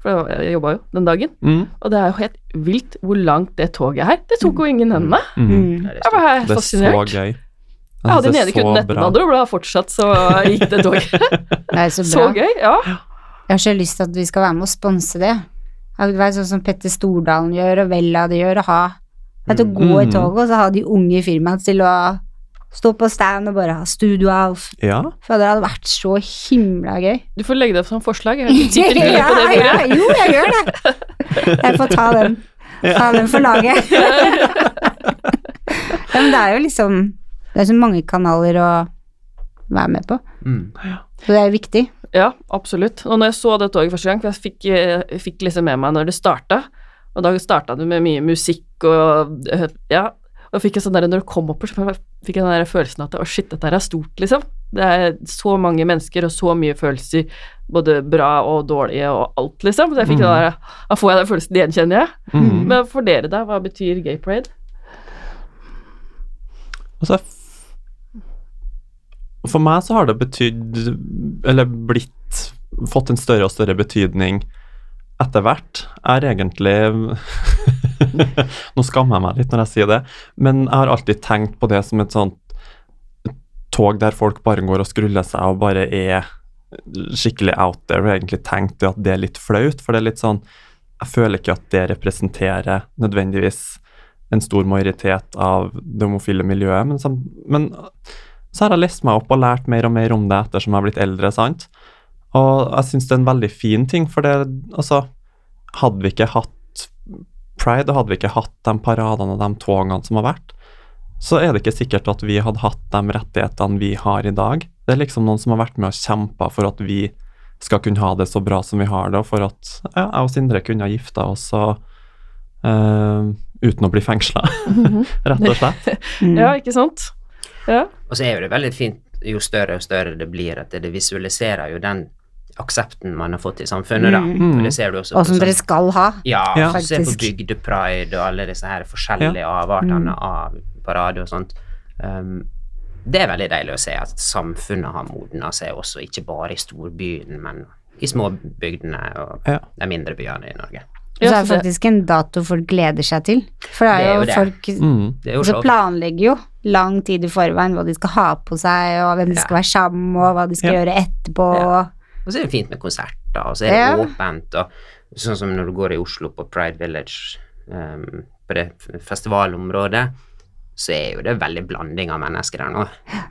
Speaker 1: for det var- jeg jobba jo den dagen,
Speaker 3: Mm.
Speaker 1: og det er jo helt vilt hvor langt det toget er. Det tok jo ingen ende.
Speaker 3: Mm.
Speaker 2: Mm.
Speaker 4: Ja, det er
Speaker 1: Jeg var helt
Speaker 3: Det er så
Speaker 1: fascinert.
Speaker 3: gøy.
Speaker 1: Jeg hadde nede kutten
Speaker 3: kunden
Speaker 1: etter den andre, og ble fortsatt så gikk det toget.
Speaker 2: Det er så
Speaker 1: Så
Speaker 2: bra.
Speaker 1: gøy, ja.
Speaker 2: Jeg har så lyst til at vi skal være med og sponse det. At Det er sånn som Petter Stordalen gjør, og Vella det gjør, og ha At å gå i
Speaker 3: Mm.
Speaker 2: toget, og så ha de unge i firmaet til å Stå på stand og bare ha studio-Alf.
Speaker 3: Ja.
Speaker 2: For det hadde vært så himla gøy.
Speaker 1: Du får legge det opp som forslag. Jeg sitter ikke på det
Speaker 2: ja,
Speaker 1: bordet.
Speaker 2: ja, jo, jeg gjør det. Jeg får ta den. Ta den for laget. ja, men det er jo liksom Det er så mange kanaler å være med på,
Speaker 4: Mm.
Speaker 2: så det er jo viktig.
Speaker 1: Ja, absolutt. Og når jeg så det toget første gang, for jeg fikk, eh, fikk liksom med meg når det starta, og da starta det med mye musikk og eh, Ja. Og fikk jeg sånn der, når det kom oppover, så bare fikk jeg den der følelsen at å, shit, dette her er stort, liksom. Det er så mange mennesker og så mye følelser, både bra og dårlige og alt, liksom. Så jeg fikk den der, da får jeg den følelsen igjen, kjenner jeg.
Speaker 3: Mm.
Speaker 1: Men for dere, da, hva betyr gay parade?
Speaker 3: Altså, f- for meg så har det betydd, eller blitt, fått en større og større betydning etter hvert. Jeg er egentlig Nå skammer jeg meg litt når jeg sier det, men jeg har alltid tenkt på det som et sånt tog der folk bare går og skruller seg og bare er skikkelig out there, og egentlig tenkt at det er litt flaut, for det er litt sånn Jeg føler ikke at det representerer nødvendigvis en stor majoritet av det homofile miljøet. Men, sam- men øh, så har jeg lest meg opp og lært mer og mer om det ettersom jeg har blitt eldre. sant? Og jeg syns det er en veldig fin ting, for det altså Hadde vi ikke hatt pride, og hadde vi ikke hatt de paradene og de togene som har vært, så er det ikke sikkert at vi hadde hatt de rettighetene vi har i dag. Det er liksom noen som har vært med og kjempa for at vi skal kunne ha det så bra som vi har det, og for at ja, jeg og Sindre kunne ha gifta oss og eh, uten å bli fengsla, rett og slett.
Speaker 1: Ja, ikke sant? Ja.
Speaker 4: Og så er jo det veldig fint jo større og større det blir, at det visualiserer jo den aksepten man har fått i samfunnet, da.
Speaker 2: Mm.
Speaker 4: Og det ser du også
Speaker 2: Og som
Speaker 4: på
Speaker 2: dere
Speaker 4: sånn-
Speaker 2: skal ha.
Speaker 4: Ja,
Speaker 3: Ja.
Speaker 4: se på
Speaker 2: Faktisk.
Speaker 4: bygdepride og alle disse her forskjellige avartene
Speaker 2: Mm.
Speaker 4: av parade og sånt. Um, det er veldig deilig å se at samfunnet har modna seg også, ikke bare i storbyen, men i småbygdene og
Speaker 3: Ja.
Speaker 4: de mindre byene i Norge.
Speaker 2: Og så er
Speaker 1: så
Speaker 2: det
Speaker 1: det-
Speaker 2: faktisk en dato folk gleder seg til. For det er jo,
Speaker 4: Det er jo
Speaker 2: folk
Speaker 3: Mm.
Speaker 4: Det er jo
Speaker 2: Så
Speaker 4: show.
Speaker 2: planlegger jo lang tid i forveien hva de skal ha på seg, og hvem de skal være sammen med, og hva de skal
Speaker 3: Ja.
Speaker 2: gjøre etterpå.
Speaker 4: Ja. Og så er det fint med konserter, og så er det
Speaker 2: Ja.
Speaker 4: åpent. Og sånn som når du går i Oslo på Pride Village, ehm, på det f- festivalområdet, så er jo det veldig blanding av mennesker der nå.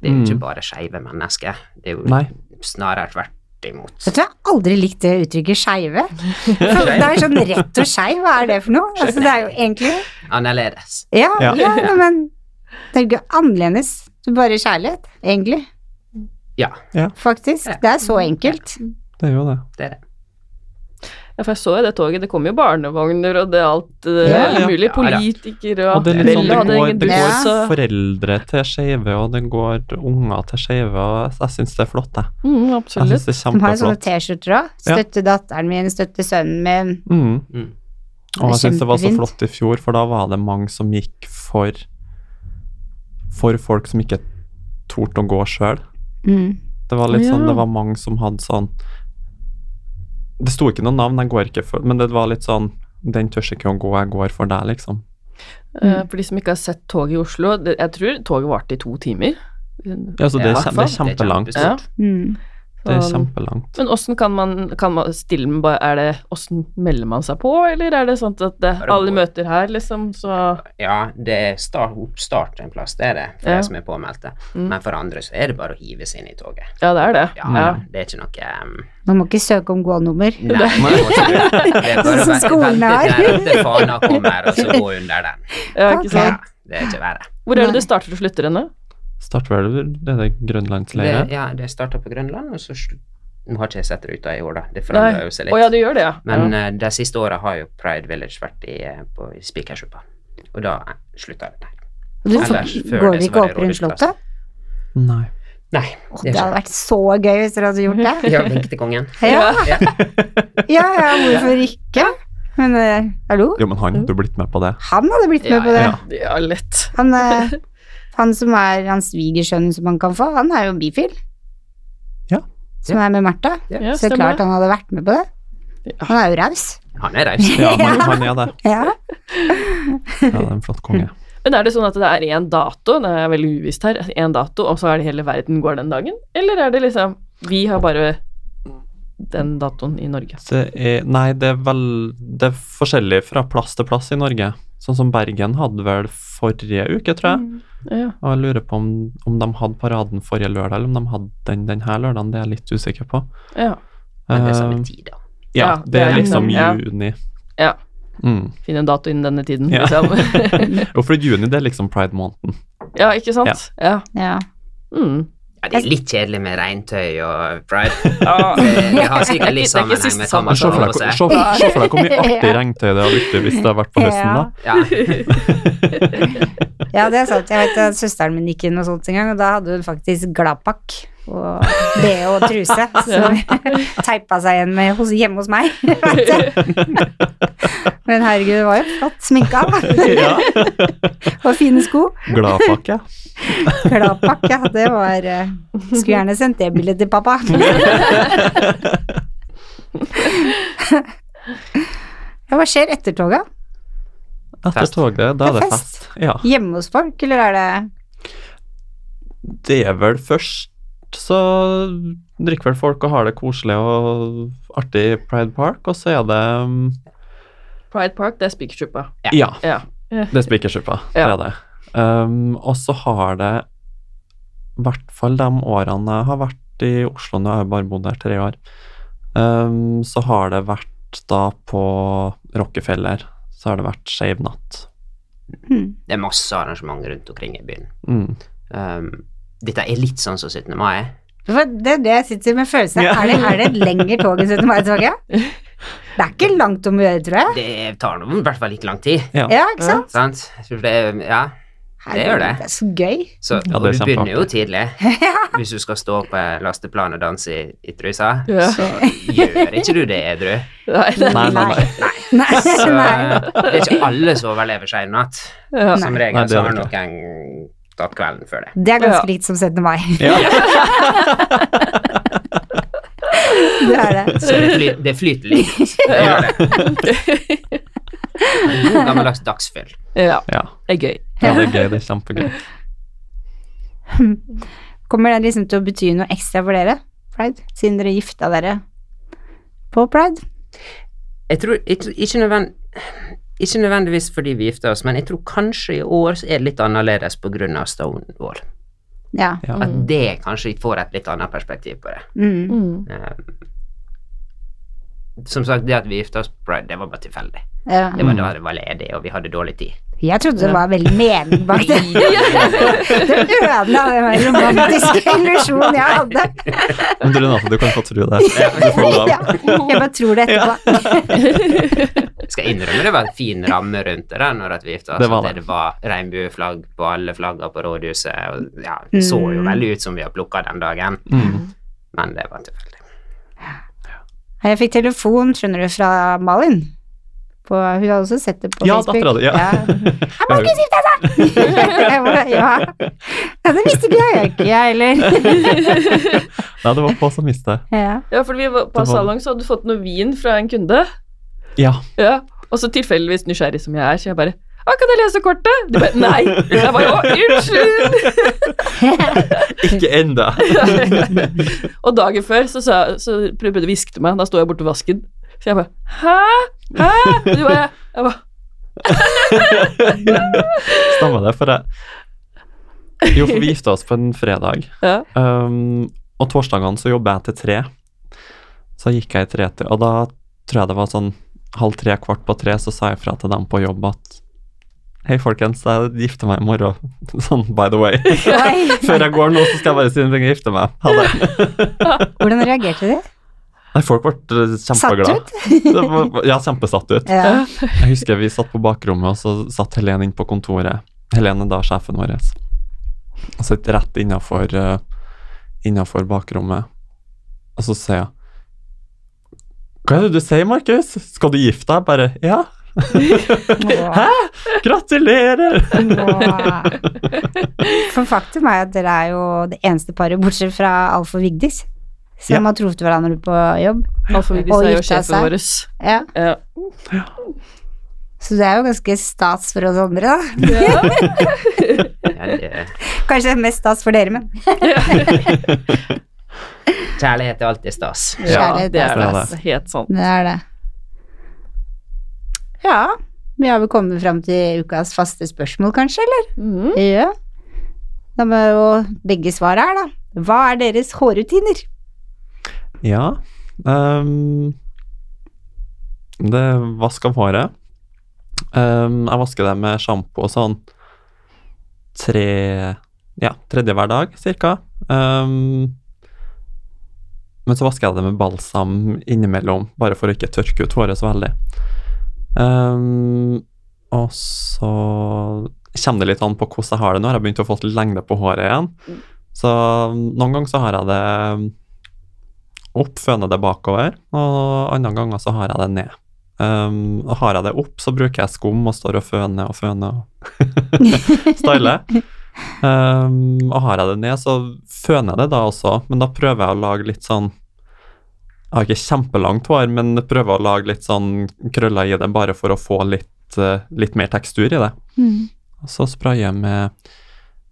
Speaker 4: Det er jo ikke bare skeive mennesker. Det er jo
Speaker 3: Mm. Nei.
Speaker 4: snarere tvert imot.
Speaker 2: Jeg tror jeg aldri likte det uttrykket skeive. For Det er jo sånn rett og skeiv, hva er det for noe? Altså, det er jo egentlig
Speaker 4: Annerledes.
Speaker 2: Ja, ja.
Speaker 3: Ja.
Speaker 2: nei, men det er jo ikke annerledes. Det er Bare kjærlighet, egentlig.
Speaker 4: Ja,
Speaker 2: Faktisk.
Speaker 4: Ja.
Speaker 2: Det er så enkelt.
Speaker 3: Det er jo det.
Speaker 4: det er det.
Speaker 1: Ja, for jeg så jo det toget. Det kom jo barnevogner og det alt eh,
Speaker 2: Ja,
Speaker 1: alle
Speaker 3: ja.
Speaker 1: mulige
Speaker 4: Ja, da.
Speaker 1: politikere og,
Speaker 3: Og det er litt
Speaker 1: Bella
Speaker 3: sånn, det
Speaker 1: hadde
Speaker 3: går,
Speaker 1: egen
Speaker 3: det går
Speaker 1: buss, og-
Speaker 3: foreldre til skeive, og det går unger til skeive, og jeg syns det er flott, jeg.
Speaker 1: Mm,
Speaker 3: Jeg
Speaker 1: absolutt.
Speaker 3: syns det er
Speaker 2: De har jo sånne
Speaker 3: kjempeflott.
Speaker 2: T-skjorter òg. Støtte datteren min, støtte sønnen min.
Speaker 3: Mm.
Speaker 4: Mm.
Speaker 3: Og jeg syns det var så
Speaker 2: Kjempefint.
Speaker 3: flott i fjor, for da var det mange som gikk for For folk som ikke torde å gå sjøl.
Speaker 2: Mm.
Speaker 3: Det var litt sånn,
Speaker 1: Ja.
Speaker 3: det var mange som hadde sånn Det sto ikke noe navn, jeg går ikke for Men det var litt sånn Den tør ikke å gå, jeg går for deg, liksom.
Speaker 1: Eh, For de som ikke har sett toget i Oslo det, Jeg tror toget varte i to timer.
Speaker 3: Ja, så det, er
Speaker 4: Ja,
Speaker 3: kjem- det er
Speaker 4: det er
Speaker 3: kjempelangt.
Speaker 1: Ja.
Speaker 4: kjempestort.
Speaker 2: Mm.
Speaker 3: Det er
Speaker 1: Sånn.
Speaker 3: kjempelangt.
Speaker 1: Men åssen kan man, kan man stille med bare Er det åssen melder man seg på, eller er det sånn at det,
Speaker 4: det
Speaker 1: alle
Speaker 4: går.
Speaker 1: møter her, liksom, så
Speaker 4: Ja, det er start, oppstart en plass, det er det, for
Speaker 1: Ja.
Speaker 4: de som er påmeldte.
Speaker 1: Mm.
Speaker 4: Men for andre så er det bare å hive seg inn i toget.
Speaker 1: Ja, det er det.
Speaker 4: Ja,
Speaker 1: Ja.
Speaker 4: da, det er ikke noe ehm,
Speaker 2: Man må ikke søke om gånummer.
Speaker 4: Nei, det må ikke du. Det er bare å
Speaker 2: Sånn som
Speaker 4: vente-
Speaker 2: skolen
Speaker 4: vente
Speaker 2: er.
Speaker 4: til- til fana kommer, og så gå under den.
Speaker 1: ja, ikke
Speaker 2: Ok.
Speaker 1: sant?
Speaker 4: Ja, det er ikke verre.
Speaker 1: Hvor er det
Speaker 2: Nei.
Speaker 1: det starter og slutter henne?
Speaker 3: Starter vel det er det Grønlandsleire?
Speaker 4: Det, ja, det starta på Grønland, og så sl- Nå har ikke jeg sett ruta i år, da. Det
Speaker 1: Nei.
Speaker 4: forandrer jo seg
Speaker 1: Å ja,
Speaker 4: litt.
Speaker 1: det gjør det, ja.
Speaker 4: Men
Speaker 1: ja.
Speaker 4: eh, de siste åra har jo Pride Village vært i, eh, på i Spikersuppa, og da eh, slutta det der.
Speaker 2: Og du
Speaker 4: Ellers, før
Speaker 2: går
Speaker 4: det så
Speaker 2: ikke
Speaker 4: var det
Speaker 2: opp rundt
Speaker 4: rådhusplass.
Speaker 2: slottet?
Speaker 3: Nei.
Speaker 4: Nei,
Speaker 2: Å,
Speaker 4: det
Speaker 2: Det
Speaker 4: er
Speaker 2: hadde
Speaker 4: ikke
Speaker 2: vært så gøy hvis dere hadde gjort det.
Speaker 4: Ja, vink til kongen.
Speaker 2: Ja,
Speaker 4: Ja.
Speaker 2: ja, ja hvorfor ikke? Men eh, hallo,
Speaker 3: Jo, men han hadde jo blitt med på det.
Speaker 2: han hadde blitt med
Speaker 4: Ja,
Speaker 2: på det.
Speaker 1: Ja,
Speaker 3: ja.
Speaker 1: lett.
Speaker 2: Han, eh, han som er hans svigersønn som han kan få, han er jo bifil.
Speaker 3: Ja.
Speaker 2: Som er med Martha.
Speaker 1: Ja,
Speaker 2: Så
Speaker 1: stemmer
Speaker 2: klart
Speaker 1: det.
Speaker 2: han hadde vært med på det.
Speaker 1: Ja.
Speaker 2: Han er jo raus.
Speaker 4: Han er raus.
Speaker 3: Ja, han, han er det.
Speaker 2: Ja.
Speaker 3: Ja, det er en flott konge.
Speaker 1: Men er det sånn at det er én dato, det er veldig uvisst her, en dato, og så er det hele verden går den dagen? Eller er det liksom Vi har bare den datoen i Norge.
Speaker 3: Det er, nei, det er vel Det er forskjellig fra plass til plass i Norge. Sånn som Bergen hadde vel forrige uke, tror
Speaker 2: Mm.
Speaker 3: jeg.
Speaker 1: Ja.
Speaker 3: Og jeg lurer på om, om de hadde paraden forrige lørdag, eller om de hadde den denne lørdagen. Det er jeg litt usikker på.
Speaker 1: ja.
Speaker 4: Men det er samme
Speaker 3: Eh,
Speaker 4: tid, da.
Speaker 3: ja,
Speaker 1: Ja,
Speaker 3: det er
Speaker 1: det er
Speaker 3: liksom
Speaker 1: den, ja.
Speaker 3: juni.
Speaker 1: Ja.
Speaker 3: Mm.
Speaker 1: Finne en dato innen denne tiden,
Speaker 3: Ja.
Speaker 1: liksom.
Speaker 3: Jo, for juni det er liksom pride-måneden.
Speaker 1: ja, ikke sant? Ja.
Speaker 2: Ja.
Speaker 1: Mm.
Speaker 4: Ja, det er litt kjedelig med regntøy og pride. Eh, Det det har sikkert litt
Speaker 1: Det er ikke- det er ikke siste
Speaker 4: sammenheng med hva
Speaker 1: sommer.
Speaker 4: man
Speaker 3: Se
Speaker 4: får
Speaker 3: for
Speaker 4: lov
Speaker 3: deg
Speaker 4: å se.
Speaker 3: Altså, se for- se for deg hvor mye artig regntøy det hadde blitt hvis det hadde vært på høsten, da.
Speaker 4: Ja.
Speaker 2: Ja, det er sant. Jeg vet at søsteren min gikk i noe sånt en gang, og da hadde hun faktisk Gladpakk og BH og truse, som teipa seg igjen med hos, hjemme hos meg. Men herregud, det var jo flott sminka, da.
Speaker 3: Ja.
Speaker 2: Og fine sko.
Speaker 3: Gladpakke.
Speaker 2: Gladpakk, ja. Det var eh, Skulle gjerne sendt det bildet til pappa. Ja, hva skjer etter toga?
Speaker 3: Etter
Speaker 4: Fest.
Speaker 3: toget, da er
Speaker 2: Det er
Speaker 3: det
Speaker 2: fest.
Speaker 3: fest. Ja.
Speaker 2: Hjemme hos folk, eller er det
Speaker 3: Det er vel først så drikker vel folk og har det koselig og artig i Pride Park, og så er det um,
Speaker 1: Pride Park, det er Spikertruppa.
Speaker 3: Ja,
Speaker 1: Ja.
Speaker 3: det er Spikersuppa. Det
Speaker 1: Ja.
Speaker 3: er det. Um, og så har det i hvert fall de årene jeg har vært i Oslo, nå har jeg bare bodd der tre år, um, så har det vært da på Rockefeller, så har det vært Skeiv natt.
Speaker 2: hmm.
Speaker 4: Det er masse arrangement rundt omkring i byen.
Speaker 3: Mm.
Speaker 4: Um, dette er litt sånn som 17. mai.
Speaker 2: For det er det jeg sitter med følelsen av.
Speaker 3: Ja.
Speaker 2: Er, det, er det et lengre tog enn 17. mai-toget? Det er ikke langt om å gjøre, tror jeg.
Speaker 4: Det tar noe, i hvert fall litt lang tid.
Speaker 2: Ja, ikke sant?
Speaker 4: Sant? Jeg tror det, er- ja. Det gjør det.
Speaker 2: Herregud, Det er så gøy.
Speaker 4: Så
Speaker 3: Ja,
Speaker 4: og
Speaker 3: det er
Speaker 4: du begynner jo
Speaker 3: kjempeartig.
Speaker 4: tidlig. Hvis du skal stå på en lasteplan og danse i, i trusa,
Speaker 1: Ja.
Speaker 4: så gjør ikke du det edru.
Speaker 1: Nei, det,
Speaker 3: Nei, nei, nei.
Speaker 2: Nei,
Speaker 4: Så eh,
Speaker 2: nei.
Speaker 4: det er ikke alle som overlever seg i natt.
Speaker 1: ja.
Speaker 4: Som
Speaker 3: Nei,
Speaker 4: regel
Speaker 3: det er
Speaker 4: så har
Speaker 3: det
Speaker 4: noen tatt kvelden før det.
Speaker 2: Det er
Speaker 1: Ja.
Speaker 2: ganske likt som 17. mai.
Speaker 3: Ja.
Speaker 2: Det er det.
Speaker 4: Så det, fly, det flyter litt. Det gjør det. En God gammeldags dagsfyll.
Speaker 1: ja.
Speaker 3: ja.
Speaker 1: Det er gøy.
Speaker 3: Ja, det er gøy. Det er kjempegøy.
Speaker 2: Kommer det liksom til å bety noe ekstra for dere, Pride? Siden dere gifta dere på Pride?
Speaker 4: Jeg tror ikke, ikke, nødvend, ikke nødvendigvis fordi vi gifter oss, men jeg tror kanskje i år så er det litt annerledes på grunn av Stonewall.
Speaker 2: Ja.
Speaker 3: Ja.
Speaker 4: At det kanskje får et litt annet perspektiv på det.
Speaker 2: Mm.
Speaker 1: Mm.
Speaker 4: Um, som sagt, det at vi gifta oss på Pride, det var bare tilfeldig.
Speaker 2: ja.
Speaker 4: Det var da det var ledig, og vi hadde dårlig tid.
Speaker 2: Jeg trodde det var veldig mening bak det. Det ødela den romantiske illusjonen jeg hadde.
Speaker 3: Men du, Renate, du kan få tro det. Du får lov.
Speaker 2: Ja, jeg bare tror det etterpå.
Speaker 4: Jeg skal innrømme det var en fin ramme rundt det der når at vi gifta oss.
Speaker 3: Det var
Speaker 4: at
Speaker 3: det.
Speaker 4: det var regnbueflagg på alle flagga på rådhuset. Og ja, det så jo
Speaker 2: Mm.
Speaker 4: veldig ut som vi har plukka den dagen,
Speaker 3: Mm.
Speaker 4: men det var tilfeldig.
Speaker 2: Jeg fikk telefon, skjønner du, fra Malin. På, hun hadde også sett det på
Speaker 3: Ja,
Speaker 2: Facebook.
Speaker 3: dattera di, ja.
Speaker 2: Jeg må ikke gifte seg! Jeg bare, ja. ja, det visste ikke jeg, ikke jeg heller.
Speaker 3: Nei, det var på som visste.
Speaker 2: Ja.
Speaker 1: Ja, for vi var på
Speaker 3: Det var-
Speaker 1: salong, så hadde du fått noe vin fra en kunde.
Speaker 3: Ja.
Speaker 1: Ja. Og så tilfeldigvis nysgjerrig som jeg er, så jeg bare Å, kan jeg lese kortet? De bare Nei! Jeg bare Å, unnskyld!
Speaker 3: Ikke ennå.
Speaker 1: og dagen før så, sa, så prøvde de å hviske til meg, da sto jeg borte ved vasken. Så jeg bare Hæ? Hæ? Og de bare Jeg bare
Speaker 3: Stemmer det, for jeg Jo, for vi gifta oss på en fredag,
Speaker 1: Ja.
Speaker 3: um, og torsdagene så jobber jeg til tre. Så gikk jeg i tre til, og da tror jeg det var sånn halv tre, kvart på tre, så sa jeg fra til dem på jobb at Hei, folkens, jeg gifter meg i morgen. Sånn by the way.
Speaker 2: Oi.
Speaker 3: Før jeg går nå, så skal jeg bare si en ting og gifte meg. Ha det.
Speaker 2: Hvordan reagerte de?
Speaker 3: Nei, folk ble eh, kjempeglade.
Speaker 2: Satt
Speaker 3: Satt ut? Ja, kjempesatt ut.
Speaker 2: Ja.
Speaker 3: Jeg husker vi satt på bakrommet, og så satt Helene inn på kontoret. Helene da, sjefen vår. Og satt rett innafor Innenfor bakrommet. Og så sier jeg Hva er det du sier, Markus? Skal du gifte deg? Bare Ja,
Speaker 2: Åh,
Speaker 3: gratulerer!
Speaker 2: åh. For faktum er at dere er jo det eneste paret, bortsett fra Alf og Vigdis, som
Speaker 3: Ja.
Speaker 2: har truffet hverandre på jobb.
Speaker 1: Alfa Vigdis
Speaker 2: Og
Speaker 1: er jo
Speaker 2: gifta
Speaker 1: sjefen
Speaker 2: seg.
Speaker 1: vår.
Speaker 2: Ja.
Speaker 1: Ja.
Speaker 2: Så det er jo ganske stas for oss andre, da.
Speaker 4: Ja, det-
Speaker 2: Kanskje mest stas for dere, men
Speaker 4: Kjærlighet er alltid stas.
Speaker 1: ja,
Speaker 2: altså.
Speaker 1: altså
Speaker 2: Kjærlighet
Speaker 1: det er
Speaker 2: er
Speaker 1: det.
Speaker 3: stas.
Speaker 1: Helt sånn.
Speaker 2: det er det. Ja, Vi har vel kommet fram til ukas faste spørsmål, kanskje, eller?
Speaker 1: Mhm.
Speaker 2: Ja. Da må jo begge svare her, da. Hva er deres hårrutiner?
Speaker 3: Ja ehm, Det vask av håret. Ehm, jeg vasker det med sjampo og sånn tre Ja, tredje hver dag, cirka. Ehm, men så vasker jeg det med balsam innimellom, bare for å ikke tørke ut håret så veldig. Ehm, og så kommer det litt an på hvordan jeg har det nå. Jeg har begynt å få litt lengde på håret igjen. Så noen ganger så har jeg det opp, føner det bakover, og andre ganger så har jeg det ned. Um, og har jeg det opp, så bruker jeg skum og står og føner og føner og styler. Um, og har jeg det ned, så føner jeg det da også, men da prøver jeg å lage litt sånn Jeg har ikke kjempelangt hår, men prøver å lage litt sånn krøller i det, bare for å få litt, eh, litt mer tekstur i det.
Speaker 2: Mm.
Speaker 3: Og så sprayer jeg med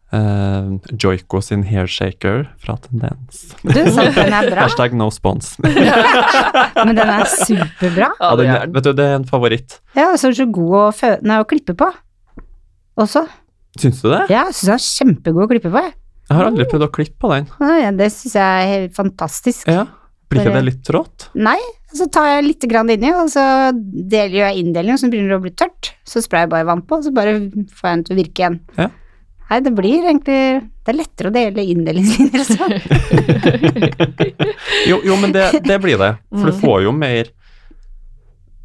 Speaker 3: eh, Joiko sin hair shaker fra Tendens.
Speaker 2: Du, sant, den er bra,
Speaker 3: Hashtag no spons.
Speaker 2: men den er superbra.
Speaker 1: Ja,
Speaker 3: Ja,
Speaker 1: det
Speaker 3: den
Speaker 1: gjør
Speaker 3: er,
Speaker 1: den.
Speaker 3: vet du, det er en favoritt.
Speaker 2: Ja, og så er den så god å, fø nei, å klippe på. Også.
Speaker 3: Syns du det?
Speaker 2: Ja, jeg syns den er kjempegod å klippe på. jeg.
Speaker 3: Jeg har aldri prøvd å klippe på den.
Speaker 2: Nei, ja, det syns jeg er helt fantastisk.
Speaker 3: Ja. Blir ikke
Speaker 2: Bare-
Speaker 3: det litt trått?
Speaker 2: Nei, så tar jeg litt grann inni, og så deler jeg inndelingen, så begynner det å bli tørt. Så sprayer jeg bare vann på, og så bare får jeg den til å virke igjen.
Speaker 3: Ja.
Speaker 2: Nei, det blir egentlig Det er lettere å dele altså. inndelingslinjer også.
Speaker 3: Jo, jo men det, det blir det. For du
Speaker 1: Mm.
Speaker 3: får jo mer,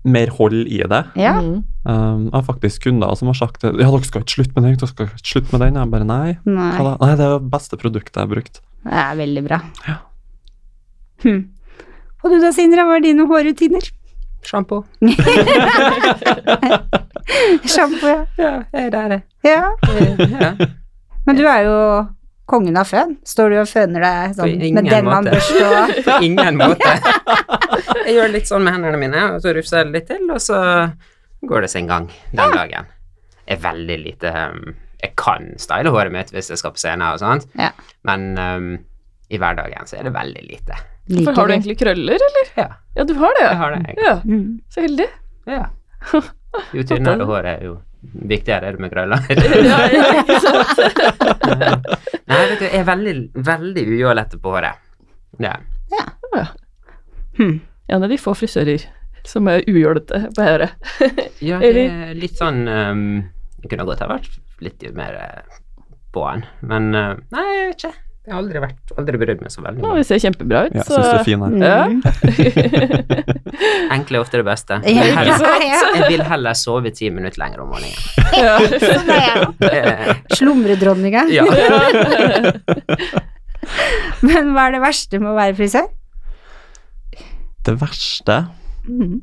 Speaker 3: mer hold i det.
Speaker 2: Ja.
Speaker 1: Mhm.
Speaker 3: Um, jeg har faktisk kunder som har sagt det. Ja, dere skal ikke slutte med den. Dere skal ikke slutte med den. Jeg bare nei. Hva
Speaker 2: Nei,
Speaker 3: da? Nei, det er det beste produktet jeg har brukt.
Speaker 2: det er veldig bra.
Speaker 3: Ja.
Speaker 2: Hm. Og du da, Sindre, hva er dine hårrutiner?
Speaker 4: Sjampo.
Speaker 2: Sjampo, ja.
Speaker 4: Ja, jeg er der, jeg.
Speaker 2: ja.
Speaker 4: Ja.
Speaker 2: Men du er jo kongen av føn. Står du og føner deg
Speaker 4: På
Speaker 2: sånn
Speaker 4: ingen
Speaker 2: med denne
Speaker 4: måte.
Speaker 2: børste og
Speaker 4: På ingen måte. Jeg gjør litt sånn med hendene mine, og så rufser jeg det litt til, og så går det sin gang den dagen. Jeg er veldig lite um, Jeg kan style håret mitt hvis jeg skal på scenen og sånt,
Speaker 2: Ja.
Speaker 4: men um, i hverdagen så er det veldig lite.
Speaker 1: For har du
Speaker 2: det.
Speaker 1: egentlig krøller, eller?
Speaker 4: Ja,
Speaker 1: Ja, du har det,
Speaker 4: jeg
Speaker 1: ja.
Speaker 4: har det. Jeg.
Speaker 1: ja
Speaker 2: Mm.
Speaker 1: så heldig.
Speaker 4: Ja. Jo tynnere håret, jo viktigere er det med krøller.
Speaker 1: Ja, ja.
Speaker 4: Nei, vet du, jeg er veldig, veldig ujålete på håret. Ja.
Speaker 2: Hm.
Speaker 1: En av de få frisører som er ujålete på høret.
Speaker 4: Ja,
Speaker 1: Er
Speaker 4: det er litt sånn um, Jeg kunne godt ha vært litt mer eh, på den, men eh, nei, jeg vet ikke. Jeg har aldri, vært, aldri brydd meg så veldig.
Speaker 1: Ja,
Speaker 4: om det.
Speaker 1: det ser kjempebra ut,
Speaker 3: Ja,
Speaker 1: så
Speaker 3: Syns du er fin her?
Speaker 1: Ja.
Speaker 2: Mm.
Speaker 4: Enkle er ofte det beste. Jeg
Speaker 2: Ja, ja,
Speaker 4: vil heller,
Speaker 2: ja.
Speaker 4: jeg vil heller sove ti minutter lenger om morgenen.
Speaker 1: ja.
Speaker 2: Sånn er jeg.
Speaker 4: Eh,
Speaker 2: Slumredronninga.
Speaker 4: ja.
Speaker 2: Men hva er det verste med å være frisør?
Speaker 3: Det verste
Speaker 2: Mm.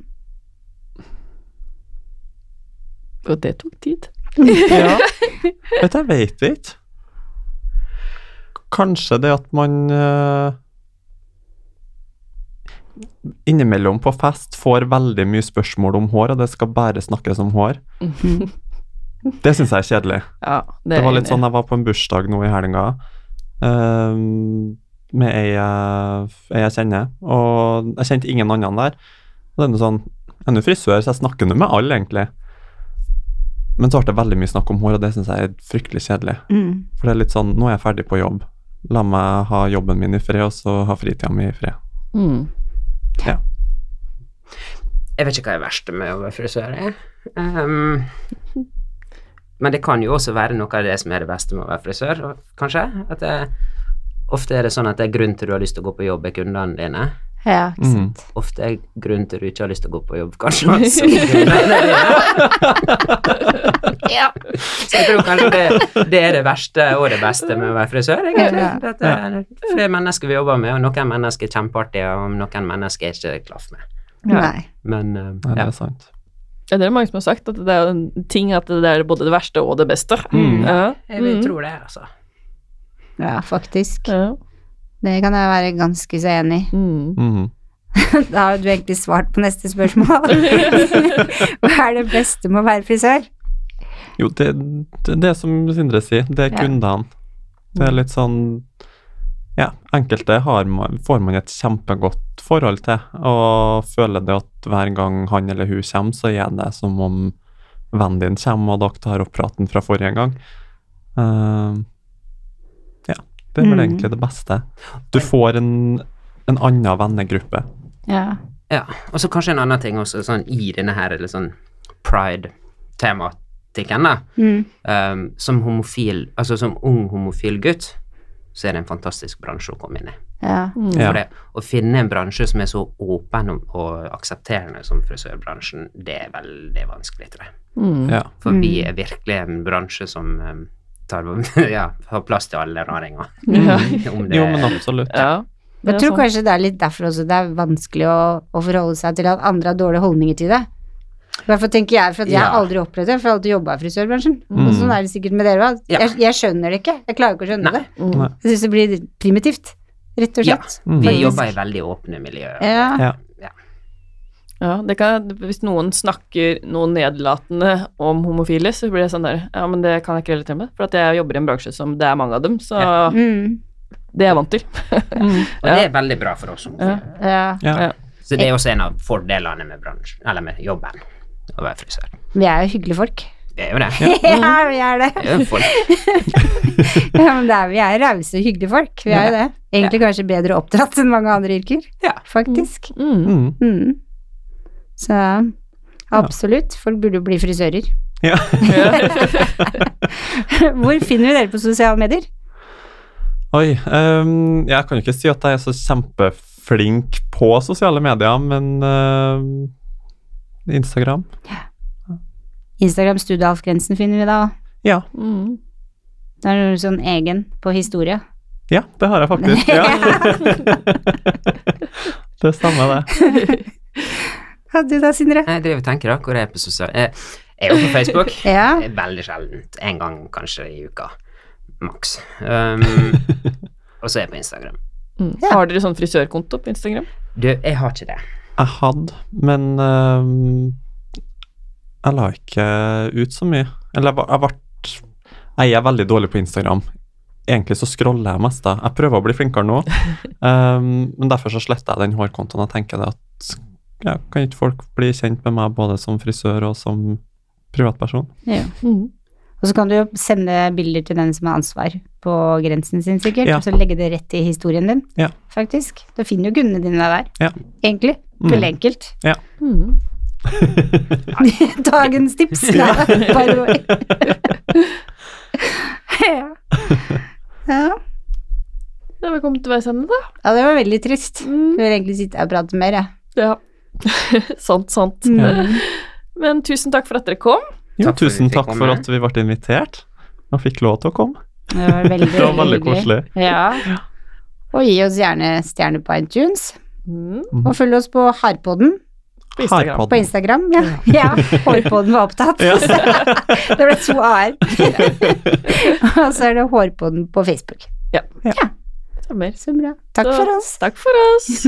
Speaker 1: Og det tok tid.
Speaker 3: Ja. Vet du, jeg vet ikke. Kanskje det at man eh, innimellom på fest får veldig mye spørsmål om hår, og det skal bare snakkes om hår. Det syns jeg er kjedelig.
Speaker 1: Ja, det,
Speaker 3: Det
Speaker 1: er
Speaker 3: var
Speaker 1: jeg
Speaker 3: litt
Speaker 1: enig
Speaker 3: sånn jeg var på en bursdag nå i helga ehm, med ei jeg, ei jeg kjenner, og jeg kjente ingen andre der. Og det er noe sånn Jeg er nå frisør, så jeg snakker nå med alle, egentlig. Men så ble det veldig mye snakk om hår, og det syns jeg er fryktelig kjedelig.
Speaker 2: Mm.
Speaker 3: For det er litt sånn Nå er jeg ferdig på jobb. La meg ha jobben min i fred, og så ha fritida mi i fred.
Speaker 1: i. Mm.
Speaker 4: Jeg vet ikke hva er verst med å være frisør. jeg. Um, men det kan jo også være noe av det som er det beste med å være frisør, og- kanskje. At det, ofte er det sånn at det er grunn til du har lyst til å gå på jobb, er kundene dine.
Speaker 2: Ja, ikke
Speaker 3: Mm.
Speaker 2: sant.
Speaker 4: Ofte er grunnen til du ikke har lyst til å gå på jobb, kanskje. også kundene dine.
Speaker 2: Ja.
Speaker 4: Så jeg tror kanskje det, det er det verste og det beste med å være frisør.
Speaker 2: Ja.
Speaker 4: egentlig. At eh, det er flere mennesker vi jobber med, og noen mennesker er kjempeartige, og noen mennesker er ikke klaff med.
Speaker 2: Nei.
Speaker 4: Men um,
Speaker 3: Nei, det
Speaker 4: ja.
Speaker 3: er sant.
Speaker 1: Ja, det er mange som har sagt at det er jo en ting at det er både det verste og det beste.
Speaker 3: Mm.
Speaker 1: Ja.
Speaker 4: Jeg vil
Speaker 1: Mm.
Speaker 4: tro det, altså.
Speaker 2: Ja, faktisk.
Speaker 1: Ja.
Speaker 2: Det kan jeg være ganske så enig i.
Speaker 1: Mm.
Speaker 3: Mhm.
Speaker 2: Da har jo du egentlig svart på neste spørsmål. Hva er det beste med å være frisør?
Speaker 3: Jo, det, det, det er som Sindre sier, det er
Speaker 2: Ja.
Speaker 3: kundene. Det er litt sånn Ja, enkelte har man, får man et kjempegodt forhold til, og føler det at hver gang han eller hun kommer, så er det som om vennen din kommer, og dere tar opp praten fra forrige gang. Eh, ja. Det er vel
Speaker 2: Mhm.
Speaker 3: egentlig det beste. Du får en, en annen vennegruppe.
Speaker 2: Ja.
Speaker 4: Ja, og så kanskje en annen ting også, sånn i denne her eller sånn pride-tematikken, da.
Speaker 2: Mm.
Speaker 4: Ehm, som homofil, altså som ung homofil gutt, så er det en fantastisk bransje å komme inn i.
Speaker 2: ja.
Speaker 1: Mm.
Speaker 3: Ja.
Speaker 4: For det, å finne en bransje som er så åpen og, og aksepterende som frisørbransjen, det er veldig vanskelig, tror jeg.
Speaker 1: Mm.
Speaker 3: Ja.
Speaker 4: For vi
Speaker 2: Mm.
Speaker 4: er virkelig en bransje som ehm, tar, ja, har plass til alle raringer.
Speaker 1: Ja.
Speaker 4: Om det
Speaker 3: Jo, men absolutt.
Speaker 1: ja. Det er
Speaker 2: Jeg
Speaker 1: sånn.
Speaker 2: tror
Speaker 1: sant.
Speaker 2: kanskje det er sånn. litt derfor også det er vanskelig å, å forholde seg til at andre har dårlige holdninger til det. I hvert fall tenker jeg, for at jeg har
Speaker 4: Ja.
Speaker 2: aldri opplevd det, for jeg har alltid jobba i frisørbransjen.
Speaker 3: Mm.
Speaker 2: Og sånn er det sikkert med dere òg.
Speaker 4: Ja.
Speaker 2: Jeg, jeg skjønner det ikke. Jeg klarer ikke å skjønne
Speaker 4: Nei.
Speaker 2: det.
Speaker 1: Mm.
Speaker 3: Nei.
Speaker 2: Jeg syns det blir primitivt, rett og
Speaker 4: Ja.
Speaker 2: slett.
Speaker 3: Mm.
Speaker 4: Vi
Speaker 2: Faktisk.
Speaker 4: jobber i veldig åpne miljøer.
Speaker 2: Ja.
Speaker 3: Ja.
Speaker 1: Ja, det kan, hvis noen snakker noe nedlatende om homofile, så blir det sånn der Ja, men det kan jeg ikke relatere med, for at jeg jobber i en bransje som det er mange av dem, så
Speaker 2: Mm.
Speaker 1: det er jeg vant til.
Speaker 4: Og det er veldig bra for oss homofile.
Speaker 1: Ja.
Speaker 2: ja.
Speaker 3: Ja.
Speaker 1: Ja.
Speaker 4: Så det er også en av fordelene med bransjen, eller med jobben, å være frisør.
Speaker 2: Vi er jo hyggelige folk.
Speaker 4: Det er jo det.
Speaker 2: Ja, vi er det.
Speaker 4: Det er jo folk.
Speaker 2: Ja, men det er, vi er rause, hyggelige folk. Vi er jo det. Egentlig kanskje bedre oppdratt enn mange andre yrker,
Speaker 4: Ja.
Speaker 2: faktisk.
Speaker 1: Mm.
Speaker 3: Mm.
Speaker 2: Mm. Så absolutt, folk burde jo bli frisører.
Speaker 3: Ja.
Speaker 2: Hvor finner vi dere på sosiale medier?
Speaker 3: Oi. ehm, jeg kan jo ikke si at jeg er så kjempeflink på sosiale medier, men ehm, Instagram.
Speaker 2: Instagram Studiealf-grensen finner vi da.
Speaker 3: Ja.
Speaker 1: Mm.
Speaker 2: Det er noe sånn egen på historie.
Speaker 3: Ja, det har jeg faktisk. Ja. det stemmer, det.
Speaker 2: Ja, du da, Sindre?
Speaker 4: Jeg driver og tenker da, hvor er jeg på sosial... eh, Jeg er jo på Facebook.
Speaker 2: Ja.
Speaker 4: Det er Veldig sjeldent. En gang kanskje i uka. Maks. Um, og så er jeg på Instagram.
Speaker 1: Mm. Har dere sånn frisørkonto på Instagram?
Speaker 4: Du, jeg har ikke det.
Speaker 3: Jeg hadde, men ehm, jeg la ikke ut så mye. Eller jeg var- jeg ble Jeg er veldig dårlig på Instagram. Egentlig så scroller jeg mest. da. Jeg prøver å bli flinkere nå, ehm, men derfor så sletter jeg den hårkontoen. Jeg tenker det at ja, kan ikke folk bli kjent med meg både som frisør og som privatperson?
Speaker 1: Mm.
Speaker 2: Og så kan du jo sende bilder til den som har ansvar på grensen sin, sikkert.
Speaker 3: Ja.
Speaker 2: Og så legge det rett i historien din,
Speaker 3: Ja.
Speaker 2: faktisk. Da finner jo kundene dine deg der.
Speaker 3: Ja.
Speaker 2: Egentlig.
Speaker 3: Mm.
Speaker 2: Veldig enkelt.
Speaker 1: Mm.
Speaker 2: Dagens tips. Ja. By the way. ja. ja.
Speaker 1: Da har vi kommet til veis ende, da.
Speaker 2: Ja, det var veldig trist. Jeg
Speaker 1: Mm.
Speaker 2: vil egentlig sitte her og prate mer, jeg. Mm.
Speaker 1: Ja. Mm. sant, sant. Men tusen takk for at dere kom.
Speaker 3: Jo,
Speaker 4: Takk for at vi
Speaker 3: tusen
Speaker 4: fikk
Speaker 3: takk for
Speaker 4: komme.
Speaker 3: at vi ble invitert og fikk lov til å komme.
Speaker 2: Det var veldig,
Speaker 3: Det var veldig
Speaker 2: hyggelig.
Speaker 3: koselig.
Speaker 2: Ja. Og gi oss gjerne stjerner på iTunes.
Speaker 1: Mm.
Speaker 2: Og følg oss på Harpodden
Speaker 1: På Instagram.
Speaker 2: på Instagram. Ja, ja Hårpodden var opptatt.
Speaker 3: Ja.
Speaker 2: det ble to a-er. og så er det Hårpodden på Facebook.
Speaker 1: Stemmer.
Speaker 2: Så bra. Takk
Speaker 1: Så,
Speaker 2: for oss.
Speaker 1: Takk for oss.